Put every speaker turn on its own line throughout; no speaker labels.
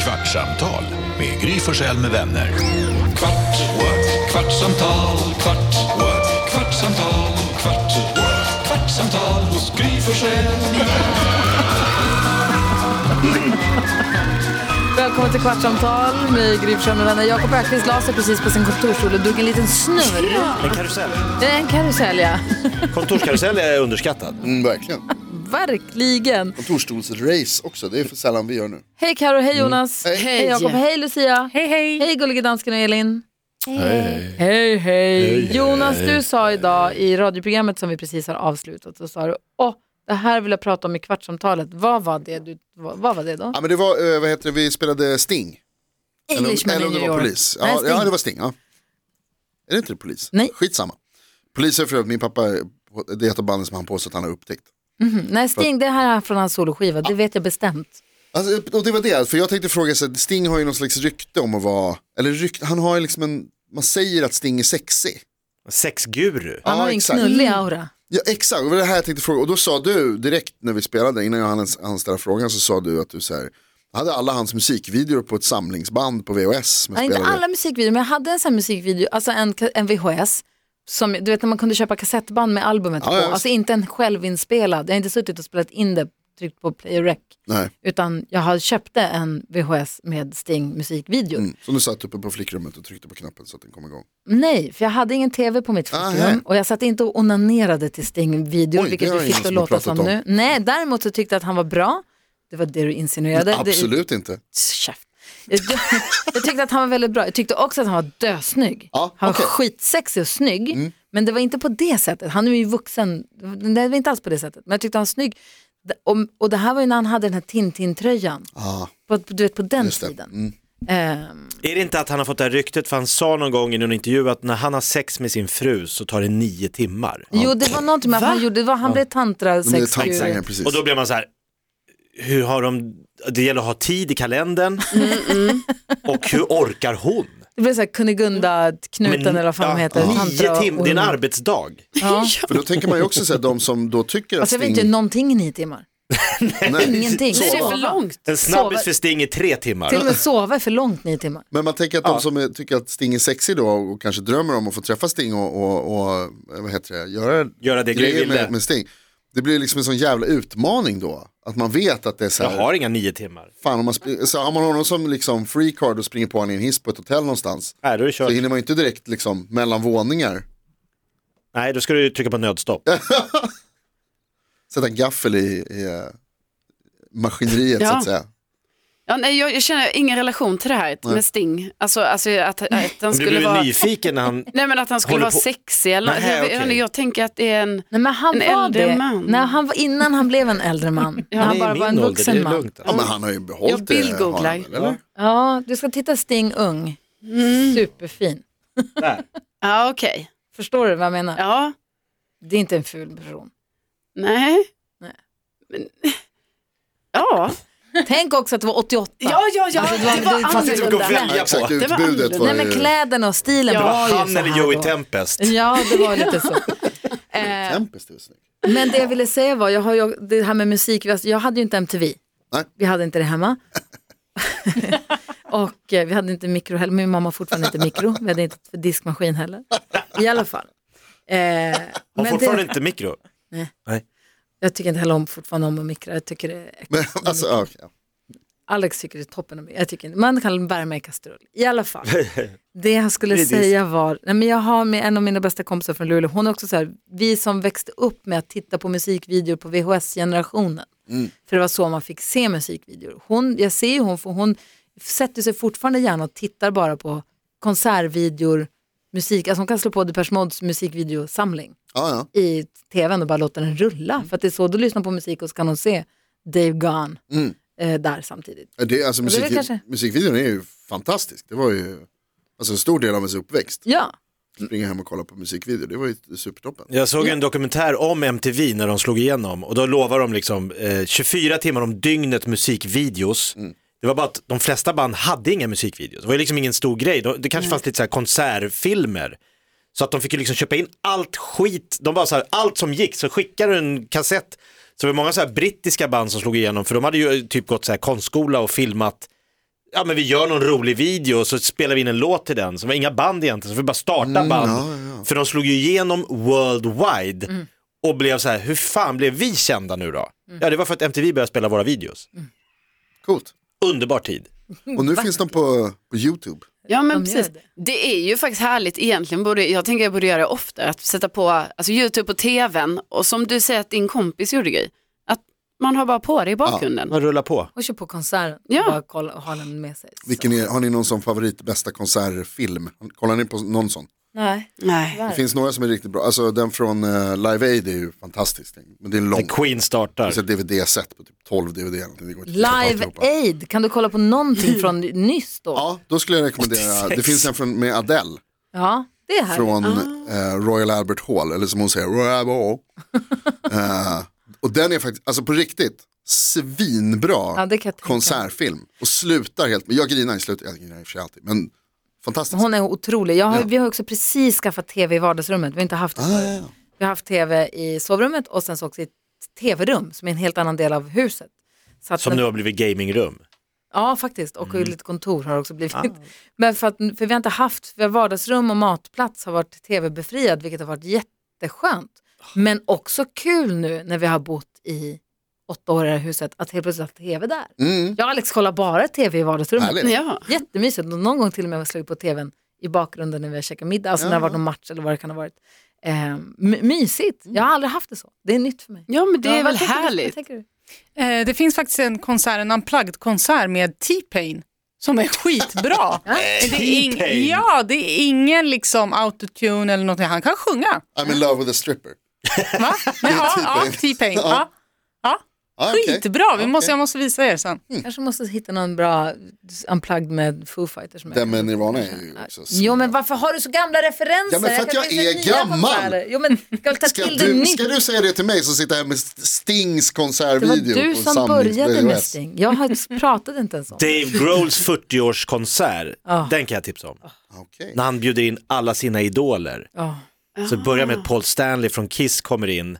Kvartsamtal med Gry Forssell med vänner.
Kvart, what? kvartsamtal, kvart, what? kvartsamtal, kvart, what? kvartsamtal hos Gry Forssell.
Välkommen till Kvartsamtal med Gry Forssell med vänner. Jakob Öqvist la sig precis på sin kontorsstol och drog en liten snurr.
En karusell.
Det är en karusell, ja.
Kontorskarusell är underskattad.
Mm, verkligen.
Verkligen.
Kontorsstolsrace också, det är för sällan vi gör nu.
Hej Karo, hej Jonas.
Hej.
Mm. Hej Jakob, hej Lucia. Hej hej. Hej gullige dansken och Elin. Hej hej. Jonas, du sa idag i radioprogrammet som vi precis har avslutat, så sa du, åh, det här vill jag prata om i Kvartsamtalet. Vad var det, du, vad, vad var det då?
Ja, men det var, eh, vad heter det, vi spelade Sting.
Englishman
eller, om- eller om
in
det
New
var
York.
polis.
Nej,
Ja,
Sting.
ja, det var Sting. Ja. Är det inte polis?
Nej.
Skitsamma. Polis är för övrigt, min pappa, det är ett av banden som han påstår att han har upptäckt.
Nej, Sting, det här är från hans soloskiva, det vet jag bestämt.
Alltså, och det var det, för jag tänkte fråga, så här, Sting har ju någon slags rykte om att vara, eller rykte, han har ju liksom en, man säger att Sting är sexy.
Sexguru.
Han
Ja,
har ju en
exakt.
knullig aura.
Ja exakt, det var det här jag tänkte fråga. Och då sa du direkt när vi spelade, innan jag hann, ens- hann ställa frågan, så sa du att du så här, hade alla hans musikvideor på ett samlingsband på VHS. Med
Nej, inte
spelade-
alla musikvideor, men jag hade en sån här musikvideo, alltså en, ka- en VHS. Som, du vet när man kunde köpa kassettband med albumet
Ja,
på,
ja, visst.
alltså inte en självinspelad, jag har inte suttit och spelat in det, tryckt på play och rec,
Nej.
utan jag har- köpte en VHS med Sting musikvideo.
Mm. Så du satt uppe på flickrummet och tryckte på knappen så att den kom igång.
Nej, för jag hade ingen tv på mitt
Ah,
flickrum
hej.
och jag satt inte och onanerade till Sting-videor,
Oj, det
vilket
har
du fick
ingen
det att
som har
låta som
pratat om.
nu. Nej, däremot så tyckte jag att han var bra, det var det du insinuerade. Det,
Absolut inte.
Käft. Jag, jag tyckte att han var väldigt bra. Jag tyckte också att han var dösnygg.
Ja,
han var
okej. Mm.
skitsexig och snygg. Men det var inte på det sättet. Han är ju vuxen. Det var inte alls på det sättet. Men jag tyckte han var snygg. Och, och det här var ju när han hade den här Tintin-tröjan.
Ah,
På, du vet på den
just det.
tiden.
Mm.
Ehm,
Är det inte att han har fått det här ryktet, för han sa någon gång i någon intervju att när han har sex med sin fru så tar det nio timmar.
Jo, det var någonting med att han gjorde. Det var, han blev tantra
Men det är
sex
tanken, precis.
Och då blir man så här, hur har de, det gäller att ha tid i kalendern och hur orkar hon?
Det blev så här Kunigunda-knuten eller vad fan de heter.
nio
Tantra
timmar, det är en
och-
arbetsdag.
Ja.
För då tänker man ju också så här, de som då tycker att
Alltså jag vet
Sting...
inte någonting i nio timmar.
Nej.
Ingenting.
Så,
Nej, det är för
Sova.
långt.
En snabbis
Sover.
för Sting i tre timmar.
Till och med sova är för långt nio timmar.
men man tänker att de som eh, tycker att Sting är sexig då och kanske drömmer om att få träffa Sting och, och, och eh, vad heter det, göra,
Göra det Gry
grejer
ville.
med, med Sting. Det blir liksom en sån jävla utmaning då. Att man vet att det är så
Jag
här.
har inga nio timmar.
Fan, om man, spr- så har man honom som liksom free card och springer på honom i en hiss på ett hotell någonstans.
Nej, då är det
Så
kört.
hinner man ju inte direkt liksom mellan våningar.
Nej, då ska du trycka på nödstopp.
Sätta en gaffel i, i eh, maskineriet så
Ja.
att säga.
Ja, nej, jag, jag känner ingen relation till det här med Sting. Alltså, alltså att, att han
Men du
skulle
blev
vara...
nyfiken när han
Nej men att han skulle
Håller
vara
på-
sexig eller
Nej,
alltså, jag, jag,
okej.
jag tänker att det är en...
Nej, men han
En
var
äldre
det.
man.
När han var, innan han blev en äldre man. när han
är
bara
i
var
min
en
ålder,
vuxen
det är
man.
lugnt.
Ja men han har ju behållit
Jag bildgooglar.
det. har han väl, eller?
Ja, du ska titta Sting ung.
Mm.
Superfin.
Där.
Ja okej.
Förstår du vad jag menar?
Ja,
Det är inte en ful person.
nej.
Nej.
Men... Ja.
Tänk också att det var 88.
ja, ja, ja, det var, det
det typ fanns inte
Gå och
annorlunda.
välja
Ja,
på.
exakt,
Det typ
var
utbudet var
Nej
ju...
men kläderna och stilen
Ja. Det
var,
var
ju
han
så
eller
här
Joey
då.
Tempest.
Ja, det var lite så. Eh,
Tempest är väl snygg.
Men det jag ville säga var, jag har ju, det här med musik, vi har- jag hade ju inte MTV.
Nej.
Vi hade inte det hemma. och eh, vi hade inte mikro heller, min mamma har fortfarande inte mikro, vi hade inte diskmaskin heller. I alla fall. Eh,
Har
men
fortfarande
det,
inte mikro.
jag tycker inte heller om, fortfarande om att mikra, jag tycker det är äckligt.
Men, alltså,
Mm.
ja, okej.
Alex tycker det är toppen, av mig. jag tycker inte. man kan värma i kastrull. I alla fall, det jag skulle säga var, nej men jag har med en av mina bästa kompisar från Luleå, hon är också så här, vi som växte upp med att titta på musikvideor på VHS-generationen, för det var så man fick se musikvideor. Hon, jag ser ju hon, för hon sätter sig fortfarande gärna och tittar bara på konsertvideor, musik, alltså hon kan slå på Depeche Modes musikvideosamling
ja, ja.
i tvn och bara låta den rulla, för att det är så, då lyssnar hon på musik och så kan hon se Dave Gone
Mm.
eh, där samtidigt.
Det, alltså,
det är väl
musik,
kanske-
Musikvideon är ju fantastisk. Det var ju alltså, en stor del av ens uppväxt.
Ja,
Springa hem och kolla på musikvideo, det var ju supertoppen.
Jag såg en dokumentär om MTV när de slog igenom och då lovar de liksom eh, 24 timmar om dygnet musikvideos.
Mm.
Det var bara att de flesta band hade inga musikvideos. Det var ju liksom ingen stor grej. De- Det kanske fanns lite så här konsertfilmer. Så att de fick ju liksom köpa in allt skit, de bara så här, allt som gick, så skickade du en kassett. eh, Så det var många så här brittiska band som slog igenom för de hade ju typ gått så här konstskola och filmat ja men vi gör någon rolig video och så spelar vi in en låt till den. Så det var inga band egentligen, så vi bara starta band. För de slog ju igenom worldwide och blev så här, hur fan blev vi kända nu då? Ja det var för att MTV började spela våra videos.
Coolt.
Underbar tid.
Och
Mm.
nu finns de på, på YouTube.
Ja men
De gör
precis. Det är ju faktiskt härligt egentligen. Borde, jag tänker jag borde göra det oftare. Att sätta på alltså, YouTube och TVn och som du säger att din kompis gjorde grej. Att man har bara på det i bakgrunden.
Man rullar på.
Och kör på konserten
Ja.
och bara kolla och ha den med sig.
Vilken är, har ni någon som favorit bästa konsertfilm? Kollar ni på någon sån?
Nej.
Nej.
Det finns några som är riktigt bra. Alltså den från eh, Live Aid är ju fantastisk. Men det är en lång.
När Queen startar.
Det är ett DVD-set på typ 12 DVD. eller någonting. Det går inte att titta på
Live
alltihopa.
Aid, kan du kolla på någonting från nyss då?
Ja, då skulle jag rekommendera. Det finns en från, med Adele
Ja, det är härligt.
från
Ah.
eh, Royal Albert Hall. Eller som hon säger, Royal Albert Hall. Eh, och den är faktiskt, alltså på riktigt, svinbra
Ja, det kan jag tänka mig.
konsertfilm. Och slutar helt, men jag grinar i slutet, jag grinar i och för sig alltid. Men fantastiskt.
Hon är otrolig. Jag har, Vi har också precis skaffat tv i vardagsrummet. Vi har inte haft det förut. Vi har haft tv i sovrummet och sen så också i ett tv-rum som är en helt annan del av huset. Så att
Som
den-
nu har blivit gamingrum.
Ja, faktiskt. Och
Mm.
lite kontor har det också blivit. Men för, att, för vi har inte haft, för vardagsrum och matplats har varit tv-befriad, vilket har varit jätteskönt.
Oh.
Men också kul nu när vi har bott i åtta år i det här huset, att helt plötsligt ha tv där.
Mm.
Mm.
Jag och Alex kollar bara tv i vardagsrummet.
Härligt.
Ja.
Jättemysigt. Och någon gång till och med har jag slagit på tvn i bakgrunden när vi har käkat middag, alltså när det har varit någon match eller vad det kan ha varit. Eh, m- mysigt. Jag har aldrig haft det så. Det är nytt för mig.
Mm. ja men det
Ja,
är
vad
väl
tänker du? Vad
härligt.
tänker du?
Eh, det finns faktiskt en konsert, en unplugged-konsert med T-Pain som är skitbra. Men det är ing-
T-Pain?
ja, det är ingen liksom autotune eller någonting. Han kan sjunga.
I'm in love with a stripper.
Va? Men, ja, ja,
T-Pain.
T-Pain. Ja. Ja.
Ah, okej.
Skitbra, vi måste, jag måste visa er sen.
Kanske måste hitta någon bra unplugged med Foo Fighters. Med.
Den med Nirvana är ju också
Jo men varför har du så gamla referenser?
Ja, men för
Här
att
kan
jag
det finnas
är
nya
gammal.
konserter. Jo men ska du ta
Ska
till det
du,
nytt?
ska du säga det till mig som sitter här med Stings
Det var
konsertvideo?
du
på
som
samlings-
började med
VHS?
Sting. Jag har- pratade inte ens om det.
Dave Grohls 40-årskonsert, den kan jag tipsa om.
Okej.
När han bjuder in alla sina idoler.
Ja.
Så det börjar med
Ah.
att Paul Stanley från Kiss kommer in.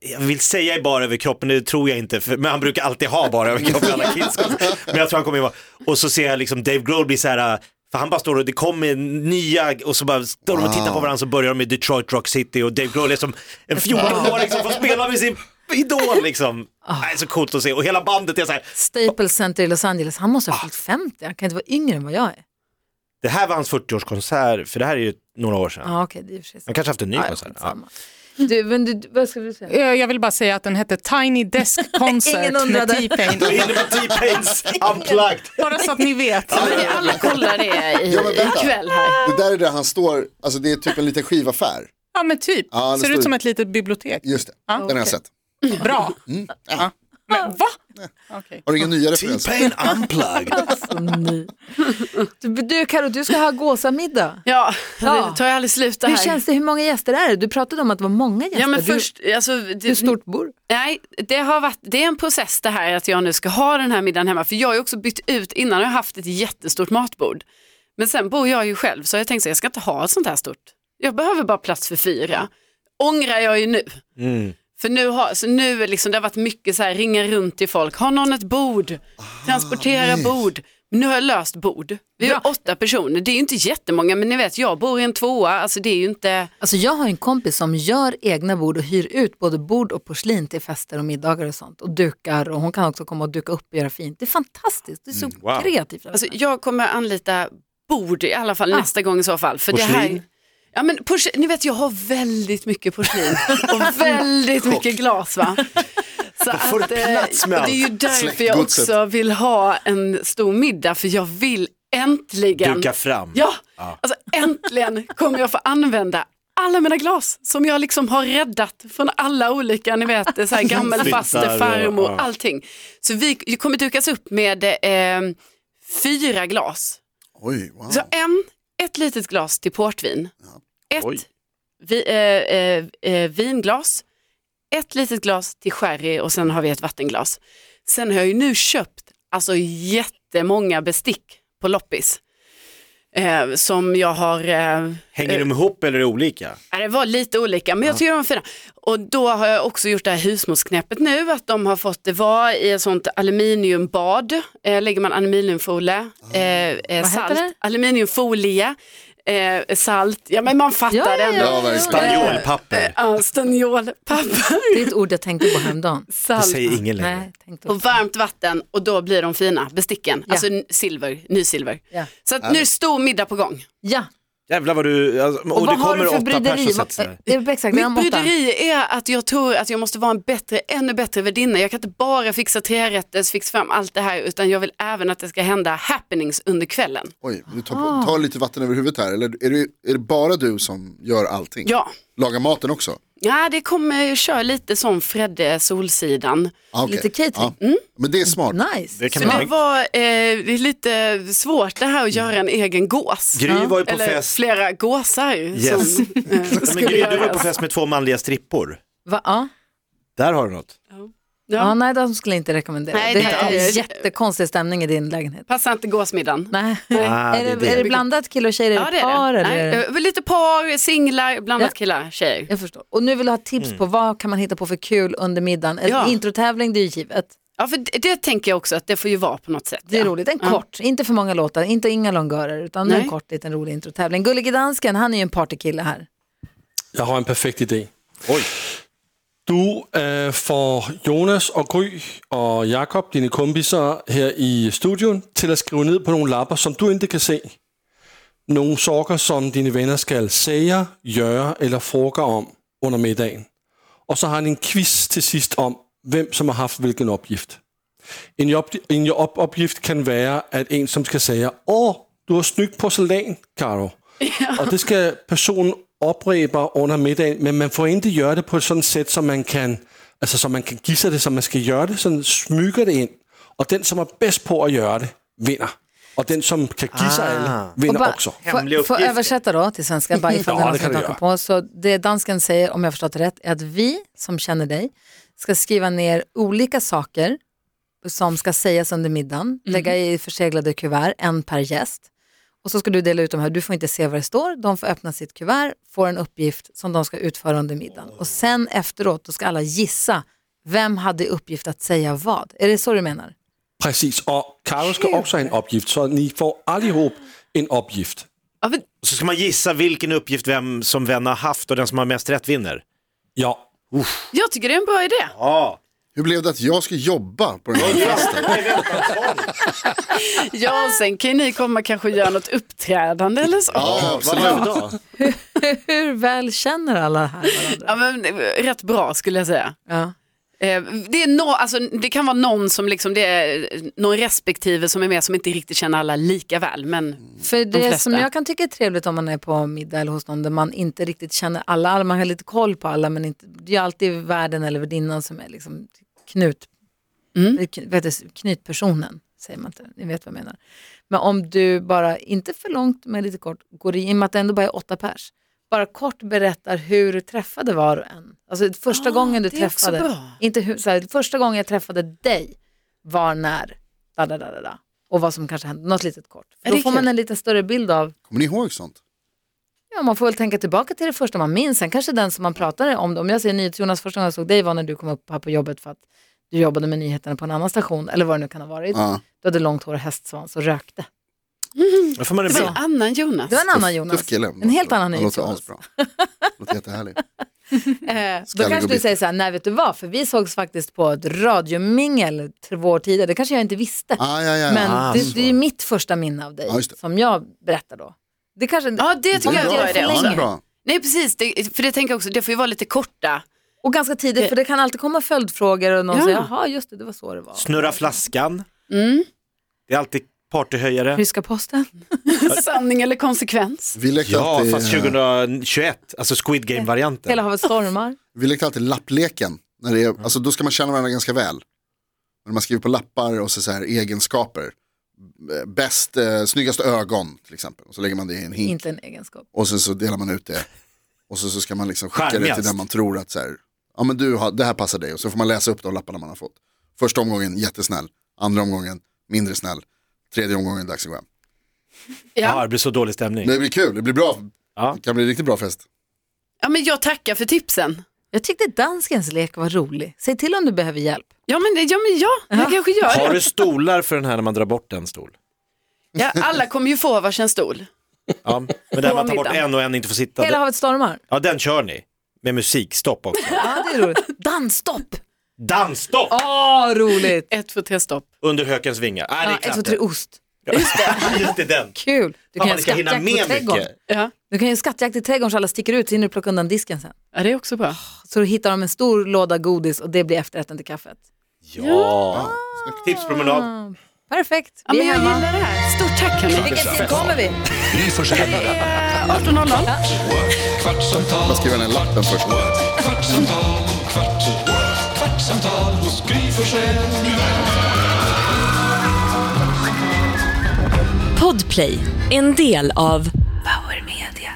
Jag- Jag vill säga i bara överkroppen, det tror jag inte, för, men han brukar alltid ha bara överkropp i alla Kiss. Men jag tror han kommer in bara- och så ser jag liksom Dave Grohl bli så här, äh, för han bara står och det kommer nya och så bara står de och tittar på varandra så börjar de med Detroit Rock City och Dave Grohl är som en 14-åring som får spela med sin idol liksom. Det är så coolt att se och hela bandet är så här,
Staples Center i Los Angeles, han måste ha fyllt 50, han kan inte vara yngre än vad jag är.
det här var hans 40-årskonsert, för det här är ju några år sedan.
Ja okej, det är i och för sig
Han
sant.
kanske haft en ny
Ja, ja,
konsert. Ja.
skitsamma. Du, men du, vad ska du säga?
Eh, Jag vill bara säga att den hette Tiny Desk Concert
Ingen undrade.
med T-Pain.
Då hinner vi T-Pains unplugged.
Bara så att ni vet.
Ja, men det- alla kollar det i,
Ja, men vänta.
ikväll här.
Det där är där han står, alltså det är typ en liten skivaffär.
Ja men typ,
Ja, det
ser
står-
ut som ett litet bibliotek.
Just det,
Ah.
den har jag sett. Mm. Ah.
Bra. Ja. Men va? Okej.
Har du inga nya referenser?
T-Pain unplugged.
Så ny. Du, du Karo, du ska ha gåsamiddag.
Ja,
Ja.
det tar jag aldrig slut det
Hur
här.
känns det, hur många gäster är det? Du pratade om att det var många gäster.
Ja men
Du-
först, alltså, det,
Hur stort bor du?
Nej, det, har varit, det är en process det här att jag nu ska ha den här middagen hemma. För jag har ju också bytt ut, innan har jag haft ett jättestort matbord. Men sen bor jag ju själv så jag tänkte så här, jag ska inte ha ett sånt här stort. Jag behöver bara plats för fyra. Ångrar jag ju nu. För nu har, så nu är liksom, det har varit mycket så här, ringa runt till folk, har någon ett bord? Transportera bord. Men nu har jag löst bord. Vi är åtta personer, det är ju inte jättemånga men ni vet jag bor i en tvåa, alltså det är ju inte...
Alltså jag har en kompis som gör egna bord och hyr ut både bord och porslin till fester och middagar och sånt. Och dukar och hon kan också komma och duka upp och göra fint. Det är fantastiskt, det är så
Mm, wow.
kreativt.
Alltså, jag kommer anlita bord i alla
Ah.
fall nästa gång i så fall. För Det här,
Porslin?
ja, men porslin, ni vet jag har väldigt mycket porslin och väldigt mycket glas. Va? Så
får du
eh,
plats med
och Det är ju
allt.
därför jag
Släktgodset.
också vill ha en stor middag för jag vill äntligen,
Duka fram.
ja, alltså, äntligen kommer jag få använda alla mina glas som jag liksom har räddat från alla olika, ni vet, så här gammel
Flyttar
faster,
och-
farmor,
ja.
allting. Så vi det kommer dukas upp med eh, fyra glas.
Oj, wow.
Så en, ett litet glas till portvin,
Oj.
ett vi, eh, eh, eh, vinglas, ett litet glas till sherry och sen har vi ett vattenglas. Sen har jag ju nu köpt alltså jättemånga bestick på loppis. eh, som jag har eh,
Hänger de ihop eller är det olika?
Ja, det var lite olika, men jag tycker de var fina. Och då har jag också gjort det här husmorsknäppet nu, att de har fått det vara i ett sånt aluminiumbad. Eh, lägger man aluminiumfolie, eh, eh, salt,
Ah. det?
aluminiumfolie, eh, salt, ja men man fattar
Ja, ja,
ändå.
Ja, verkligen.
Spanjolpapper.
Ja, Stanniolpapper,
Det är ett ord jag tänkte på häromdagen.
Det
salt
säger ingen längre.
Nej, tänkte
och
också.
varmt vatten och då blir de fina, besticken. Alltså n- silver, nysilver.
Ja.
Så att nu är stor middag på gång.
Ja,
Jävlar vad du, alltså, och,
och, vad
det
har
kommer
du för
åtta pers
bryderi?
och sätter sig ner.
Vad- Det är exakt, det är de
Mitt
åtta.
bryderi är att jag tror att jag måste vara en bättre, ännu bättre värdinna. Jag kan inte bara fixa trerätters, fixa fram allt det här, utan jag vill även att det ska hända happenings under kvällen.
Oj, du tar,
Ah.
på, tar lite vatten över huvudet här. Eller är det, är det bara du som gör allting?
Ja,
Lagar maten också?
ja det kommer jag köra lite som Fredde Solsidan.
Ah, okej.
Lite catering. Mm.
Ja. Men det är smart.
Nice.
Det kan
Så det
man,
var eh, det är lite svårt det här att göra en egen gås.
Gry var ju på
Eller
fest.
flera gåsar
Yes.
som eh,
Men
skulle
Gry, du var ju på
göras.
fest med två manliga strippor.
Va? Ja.
Där har du något.
Ja.
Ja.
nej, de skulle jag inte rekommendera.
Nej,
det,
det
är
är-
jättekonstig stämning i din lägenhet.
Passar inte gåsmiddagen.
Nej.
Ah,
är, det, är det blandat killar och tjejer?
Ja det är
par,
det.
Eller?
Nej, eh, lite par, singlar, blandat
Ja.
killar, tjejer.
Jag förstår. Och nu vill du ha tips på vad kan man hitta på för kul under middagen. En
Mm. Ja.
introtävling, det är ju givet.
Ja, för det, det tänker jag också att det får ju vara på något sätt.
Det är
ja.
roligt. En
Ja.
kort, inte för många låtar, inte inga långgörer, utan
Nej.
en kort liten rolig introtävling. Gullige dansken, han är ju en partykille här.
Jeg har en perfekt idé.
Oj.
Du øh, får Jonas og Gry og Jakob, dine kompiser her i studion, til at skrive ned på nogle lapper, som du ikke kan se. Nogle sokker, som dine venner skal sige, gøre eller fråge om under middagen. Og så har han en quiz til sidst om, hvem som har haft hvilken opgift. En, job, en job opgift kan være, at en, som skal sige, åh, du har snydt porcelæn, Karo. Og det skal personen opræber under middagen, men man får ikke gøre det på et sådan sæt, som man kan, altså, så man kan give sig det, som man skal gøre det, sådan smykker det ind. Og den, som er bedst på at gøre det, vinder. Og den, som kan give sig
Ah.
alle, vinder
bara-
også.
Hemliga
Får, får
uppgifter.
översätta då till svenska, bara ifall
Ja,
det är någon
det
som
kan
hakar
du
på. Så det dansken säger, om jag förstått det rätt, är att vi som känner dig ska skriva ner olika saker som ska sägas under middagen, lägga i förseglade kuvert, en per gäst. Och så ska du dela ut de här, du får inte se vad det står, de får öppna sitt kuvert, får en uppgift som de ska utföra under middagen. Och sen efteråt, då ska alla gissa, vem hade i uppgift att säga vad? Är det så du menar?
Præcis, og Karo skal også have en opgift, så ni får allihop en opgift.
Ja, men,
Och Så ska man gissa vilken uppgift vem som vän har haft och den som har mest rätt vinner.
Ja,
jag tycker det är en bra idé.
Ja.
Hur blev det att jag ska jobba på den här festen?
Ja, och sen kan ju ni komma kanske och göra något uppträdande eller så. Ja,
Ja,
Vad
absolut.
gör vi då?
Hur väl känner alla här varandra?
men, eh, rätt bra skulle jag säga.
Ja.
Eh, Det, är no, alltså, det kan vara någon som liksom, det är eh, någon respektive som är med som inte riktigt känner alla lika väl. Men
För det
flesta.
som jag kan tycka är trevligt om man är på middag eller hos någon där man inte riktigt känner alla, alla man har lite koll på alla men inte, det är ju alltid värden eller värdinnan som är liksom knut,
Mm.
eller kn- vet du, knutpersonen, säger man inte, ni vet vad jag menar. Men om du bara, inte för långt men lite kort, går i, i och med att det ändå bara är åtta pers, bara kort berättar hur du träffade var och en. Alltså första gången du
Ah, det är också
träffade,
bra.
inte hur, så här, första gången jag träffade dig var när, da, da, da, da, da. Och vad som kanske hände, något litet kort. För
Ja,
då
det är
får man
kul.
en lite större bild av,
Kommer ni ihåg sånt?
ja man får väl tänka tillbaka till det första man minns. Sen kanske den som man pratade om, om jag säger NyhetsJonas, första gången jag såg dig var när du kom upp här på jobbet för att du jobbade med nyheterna på en annan station, eller vad det nu kan ha varit.
Ja.
Du hade långt hår och hästsvans och rökte.
Då får man en
det var en
bild.
annan Jonas.
Det var en annan
Tuff
Jonas.
kille. alltså.
En helt annan
Han låter
NyhetsJonas.
asbra. Låter jättehärlig.
Eh, då
Skallig
kanske
och
du
bitter.
säger så här, nej vet du vad, för vi sågs faktiskt på ett radiomingel till vår tid, det kanske jag inte visste.
Ah, ja, ja, ja.
Men
Ah,
det,
så.
det är ju mitt första minne av dig,
Ja, just det.
som jag berättar då. Det kanske
Ja, det tycker
Det
jag
är
är
bra.
en bra idé.
Ja, det är bra.
Nej, precis. Det, för det tänker jag också, det får ju vara lite korta.
Och ganska tidigt, för det kan alltid komma följdfrågor och någon
Ja.
säger, jaha just det, det var så det var.
Snurra flaskan.
Mm.
Det är alltid partyhöjare.
Ryska posten.
Sanning eller konsekvens.
Vi lekte,
Ja,
alltid,
fast
eh,
2021, alltså Squid Game-varianten.
Hela havet stormar.
vi lekte alltid lappleken. När det är, alltså, då ska man känna varandra ganska väl. När man skriver på lappar och så, så här, egenskaper. B- Bäst, eh, snyggaste ögon till exempel. Och så lägger man det i en hink.
Inte en egenskap.
Och sen så delar man ut det. Och så, så ska man liksom skicka det till
Charmigast.
den man tror att så här, ja men du har, det här passar dig. Och så får man läsa upp de lapparna man har fått. Första omgången jättesnäll, andra omgången mindre snäll, tredje omgången dags att gå hem.
Ja,
Ja.
det blir så dålig stämning.
Men det blir kul, det blir bra.
Ja.
Det kan bli en riktigt bra fest.
ja, men jag tackar för tipsen.
Jag tyckte danskens lek var rolig. Säg till om du behöver hjälp.
Ja, men, det- ja, men ja, jag kanske gör
Har
det.
du stolar för den här när man drar bort en stol?
Ja, alla kommer ju få varsin stol.
Ja, men där man tar bort
middagen.
en och en inte får sitta.
Hela
Den-
havet stormar.
Ja, den kör ni. Med musikstopp också.
Ja, det är roligt. Dansstopp!
Dansstopp
Åh, roligt!
Ett, två, tre, stopp.
under hökens vingar. Nej,
Ja,
det är
ett,
knappt
två, tre, ost.
det. Just det, den.
Kul! Du kan
Fan, man
göra
ska hinna
skattjakt på
med
trädgården.
mycket.
Ja.
Du kan göra skattjakt i trädgården så alla sticker ut så hinner du plocka undan disken sen.
ja, det är också bra.
Så då hittar de en stor låda godis och det blir efterrätten till kaffet.
Ja. Tipspromenad.
Perfekt,
Ja,
vi
men
är
jag
hemma.
gillar det här. Stort tack, hörni.
Vilken tid kommer vi?
Gry Forssell med vänner.
Eh, 18.00.
kvartsamtal,
Jag skriver den här lappen först.
kvartsamtal, kvart, kvartsamtal hos Gry Forssell med vänner.
Podplay, en del av Power Media.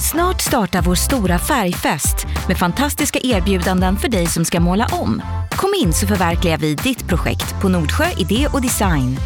Snart startar vår stora färgfest med fantastiska erbjudanden för dig som ska måla om. Kom in så förverkligar vi ditt projekt på Nordsjö Idé och Design.